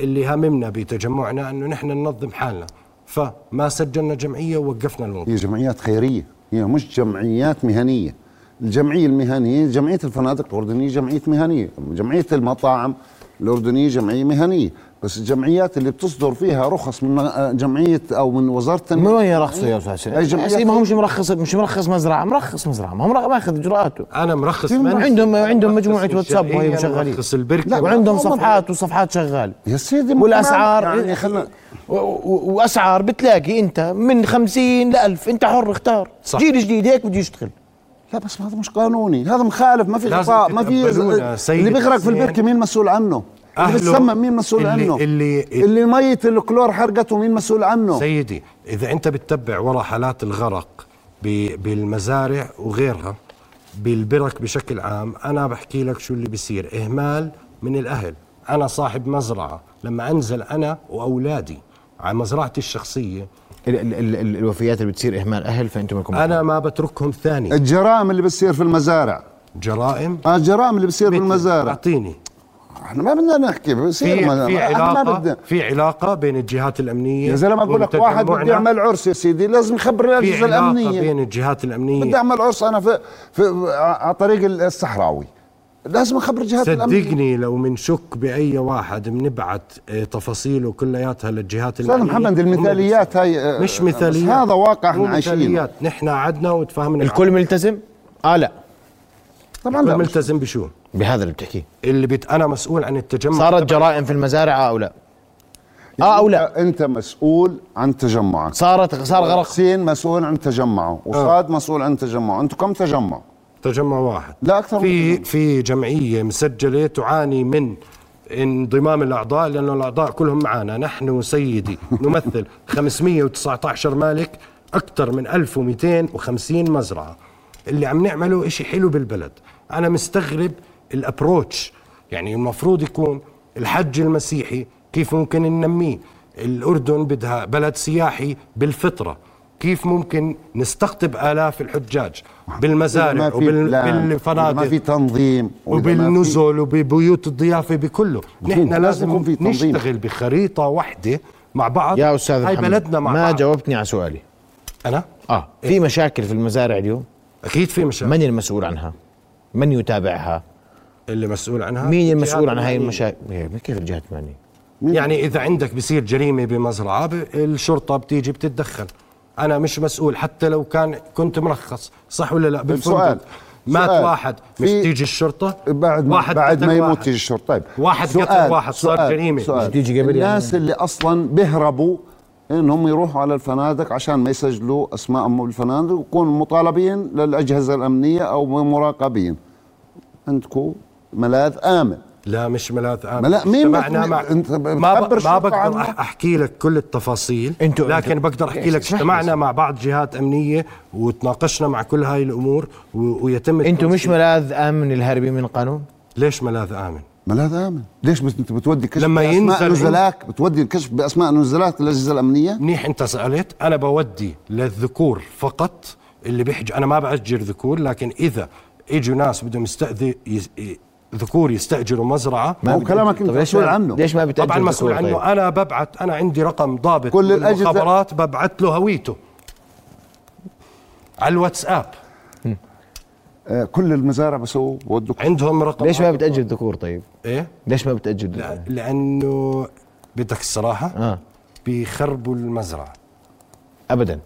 اللي هاممنا بتجمعنا انه نحن ننظم حالنا فما سجلنا جمعيه ووقفنا الموضوع
هي جمعيات خيرية هي مش جمعيات مهنية الجمعية المهنية جمعية الفنادق الأردنية جمعية مهنية جمعية المطاعم الأردنية جمعية مهنية بس الجمعيات اللي بتصدر فيها رخص من آه، جمعية أو من وزارة التنمية
ما وين يرخصوا يا استاذ
أي
حسين؟
جمعية
أصلي ما هو مش مرخص مش مرخص مزرعه مرخص مزرعه ما هو مرخ- ماخذ اجراءاته
انا مرخص
عندهم-
منزل،
عندهم-
أنا
عندهم
مرخص
مجموعة
من
واتساب وهي
شرقية، أنا
مشغلين.
مرخص البركه
لا،
وعندهم
ما هو
صفحات وصفحات شغال
يا سيدي ما-
والاسعار
يعني خلنا
و- و- واسعار بتلاقي انت من 50 ل 1000 انت حر اختار
صح.
جيل جديد هيك بده يشتغل
لا بس هذا مش قانوني هذا مخالف ما في
لازم
غطاء ما في
تتقبلونا سيد
اللي بيغرق في
حسين.
البركه مين مسؤول عنه اللي
أهله.
بتسمم مين مسؤول
اللي-
عنه
اللي-
اللي مية الكلور حرقته مين مسؤول عنه
سيدي اذا انت بتتبع ورا حالات الغرق ب- بالمزارع وغيرها بالبرك بشكل عام انا بحكي لك شو اللي بيصير اهمال من الاهل انا صاحب مزرعه لما انزل انا واولادي على مزرعتي الشخصيه
ال ال ال ال الوفيات اللي بتصير اهمال اهل فانتم لكم
انا ما بتركهم ثاني
الجرائم اللي بتصير في المزارع
جرائم
آه، الجرائم اللي بتصير في
مثل-
المزارع
اعطيني
احنا ما بدنا نحكي
في
بصير ما-
في
ما- احنا ما بدنا
علاقه في علاقه بين الجهات الامنيه
يا زلمه اقول لك واحد
وتجمعنا.
بده يعمل عرس يا سيدي لازم يخبر
في
الاجهزه
علاقه
الامنيه
بين الجهات الامنيه
بدي اعمل عرس انا في, في على طريق الصحراوي لازم اخبر الجهات الامنيه
صدقني لو منشك باي واحد بنبعت آه، تفاصيله كلياتها للجهات
استاذ
الأمنية.
محمد
هم
المثاليات
بيسألوا.
هاي آه،
مش
بس
مثاليات
هذا واقع
مو
احنا عايشينه
مثاليات. نحن قعدنا وتفاهمنا
الكل ملتزم؟ اه لا
طبعا
الكل
لا
ملتزم بشو
بهذا اللي بتحكيه
اللي بت... انا مسؤول عن التجمع
صارت جرائم في المزارع اه او لا؟ اه او لا؟
آه،
أنت-
إيه.
انت مسؤول عن تجمعك
صارت صار غرق
حسين مسؤول عن تجمعه وصاد مسؤول عن تجمعه انتم كم تجمع
تجمع واحد
لا أكثر من
في
تجمع.
في جمعيه مسجله تعاني من انضمام الاعضاء لانه الاعضاء كلهم معنا نحن سيدي نمثل 519 مالك اكثر من 1250 مزرعه اللي عم نعمله إشي حلو بالبلد انا مستغرب الابروتش يعني المفروض يكون الحج المسيحي كيف ممكن ننميه الاردن بدها بلد سياحي بالفطره كيف ممكن نستقطب الاف الحجاج
نعم.
بالمزارع
إذا ما في بلان، إذا ما في
وبالفنادق
تنظيم وإذا ما في-
وبالنزل وببيوت الضيافه بكله
مفهوم.
نحن
لازم
لازم
يكون في تنظيم.
نشتغل بخريطه واحده مع بعض
يا استاذ
هاي
محمد
بلدنا مع
ما
بعض إيه.
جاوبتني على سؤالي
انا
اه في مشاكل في المزارع اليوم
اكيد في مشاكل
من المسؤول عنها من يتابعها
اللي مسؤول عنها
مين
الجهات
المسؤول عن هاي
المعنية.
المشاكل إيه، كيف الجهات المعنيه
يعني اذا عندك بصير جريمه بمزرعه ب- الشرطه بتيجي بتتدخل انا مش مسؤول حتى لو كان كنت مرخص صح ولا لا
سؤال.
بالفندق مات
سؤال.
واحد مش
في-
تيجي الشرطه
بعد ما
واحد
بعد ما
قتل
يموت
واحد.
يجي الشرطه طيب
واحد قتل واحد، صار جريمة.
مش تيجي قبل يعني؟
الناس اللي اصلا بيهربوا انهم يروحوا على الفنادق عشان ما يسجلوا اسمائهم بالفنادق ويكونوا مطالبين للاجهزه الامنيه او مراقبين عندكم ملاذ امن
لا مش ملاذ امن
ما لا، مين
اجتمعنا
بت-
مع
انت ب-
ما,
بتخبر
ب... ما
الشرطة
بقدر
عنه؟
أح- احكي لك كل التفاصيل
انتوا-
لكن
انتوا-
بقدر احكي
ليش؟
لك
اسمح لي
اجتمعنا
بس.
مع بعض جهات امنيه وتناقشنا مع كل هاي الامور و... ويتم
انتم مش
التنسيق.
ملاذ امن الهربي من القانون
ليش ملاذ امن؟
ملاذ امن ليش بت- انت بتودي كشف
لما
بأسماء
ينزل-
نزلاك بتودي الكشف باسماء نزلاك للاجهزه الامنيه
منيح انت سالت انا بودي للذكور فقط اللي بيحج انا ما باجر ذكور لكن اذا اجوا ناس بدهم يستاذي يز... ي- ذكور يستاجروا مزرعه
ما هو كلامك انت
طب ليش
مسؤول عنه
ليش ما بتأجل
طبعا مسؤول
الذكور طيب؟
عنه انا ببعث انا عندي رقم ضابط
كل الأجهزة-
بالمخابرات ببعث له هويته على الواتساب
آه، كل المزارع بسووا بودوا
عندهم رقم
ليش ما بتاجل الذكور طيب
ايه
ليش ما بتاجل
آه، لا-
الذكور؟
لانه بدك الصراحه
اه
بيخربوا المزرعه
ابدا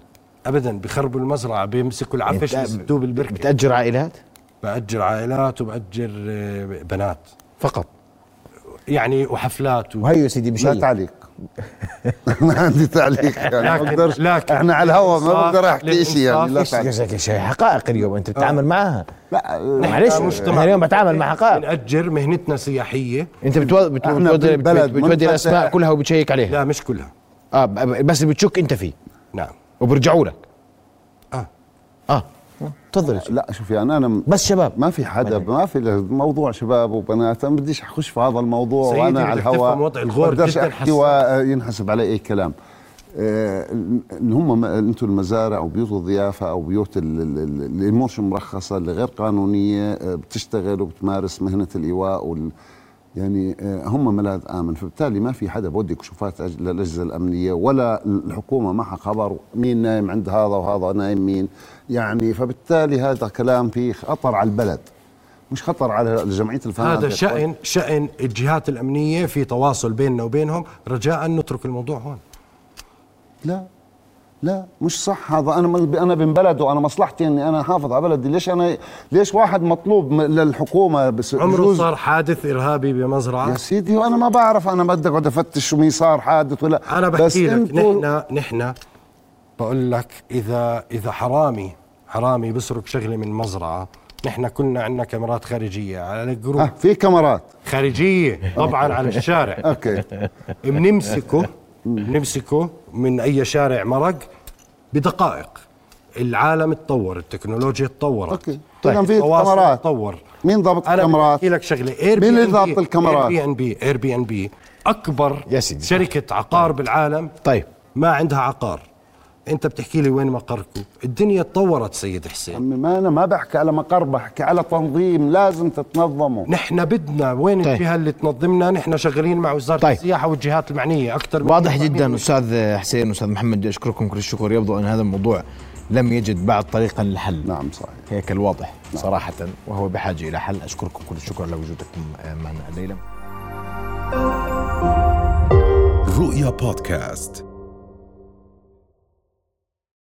ابدا بيخربوا المزرعه بيمسكوا العفش
بتأ-
بيسدوه بالبركه
بتاجر عائلات
بأجر عائلات وبأجر آه، بنات
فقط
يعني وحفلات و...
وهي يا سيدي
لا
مشي
تعليق ما عندي تعليق يعني
لكن-
بقدرش
لكن
احنا على الهواء ما
للإنصاف-
بقدر احكي شيء يعني لا
للإنصاف
تعليق
شيء حقائق اليوم انت
آه.
بتتعامل معها
لا
معلش
مجتمع-
انا اليوم بتعامل مع حقائق
بنأجر مهنتنا سياحية
انت بتو- بت-
احنا
بتودي
بالبلد
بت- بتودي
منفتح.
الاسماء كلها وبتشيك عليها
لا مش كلها
اه ب- ب- بس اللي بتشك انت فيه
نعم
وبرجعوا لك
آه.
اه تفضل يا شيخ.
لا شوف يعني انا م-
بس شباب
ما في حدا ما في له موضوع شباب وبنات انا بديش اخش في هذا الموضوع
سيدي
وانا
بدك
على
تفهم
الهواء
وضع الغور
بقدرش
جداً
احكي
حساس.
وينحسب علي اي كلام آه، ان هم ما- انتم المزارع او بيوت الضيافه او بيوت ال- ال- ال- اللي مش مرخصه اللي غير قانونيه آه، بتشتغل وبتمارس مهنه الايواء وال يعني آه، هم ملاذ امن فبالتالي ما في حدا بودي كشوفات أج- للاجهزه الامنيه ولا الحكومه معها خبر مين نايم عند هذا وهذا نايم مين يعني فبالتالي هذا كلام فيه خطر على البلد مش خطر على جمعيه الفنادق
هذا شأن شأن الجهات الأمنية في تواصل بيننا وبينهم رجاء نترك الموضوع هون
لا لا مش صح هذا انا مل- انا من بلد وانا مصلحتي اني انا احافظ على بلدي ليش انا ليش واحد مطلوب م- للحكومه بس
عمره
بجوز-
صار حادث إرهابي بمزرعة
يا سيدي وانا ما بعرف انا بدي اقعد افتش ومين صار حادث ولا
انا بحكي لك
انتوا-
نحن نحن بقول لك اذا اذا حرامي حرامي بسرق شغله من مزرعه نحن كلنا عندنا كاميرات خارجيه على الجروب
آه في كاميرات
خارجيه طبعا على الشارع
اوكي
بنمسكه بنمسكه من اي شارع مرق بدقائق العالم تطور التكنولوجيا تطورت
اوكي
طيب،
طيب في
التواصل
كاميرات
تطور
مين ضابط
انا
الكاميرات
بحكي لك شغله اير
مين اللي ضابط الكاميرات؟
اير بي ان بي اير بي ان بي اكبر
يا سيدي.
شركه عقار بالعالم
طيب
ما عندها عقار انت بتحكي لي وين مقركم الدنيا تطورت سيد حسين
عمي ما انا ما بحكي على مقر بحكي على تنظيم لازم تتنظموا
نحن بدنا وين
طيب.
طيب. الجهه اللي تنظمنا نحن شغالين مع وزاره
طيب.
طيب. السياحه والجهات المعنيه اكثر من
واضح
كده.
جدا استاذ حسين واستاذ محمد اشكركم كل الشكر يبدو ان هذا الموضوع لم يجد بعد طريقا للحل
نعم صحيح
هيك الواضح صراحه وهو بحاجه الى حل اشكركم كل الشكر لوجودكم معنا الليله
رؤيا بودكاست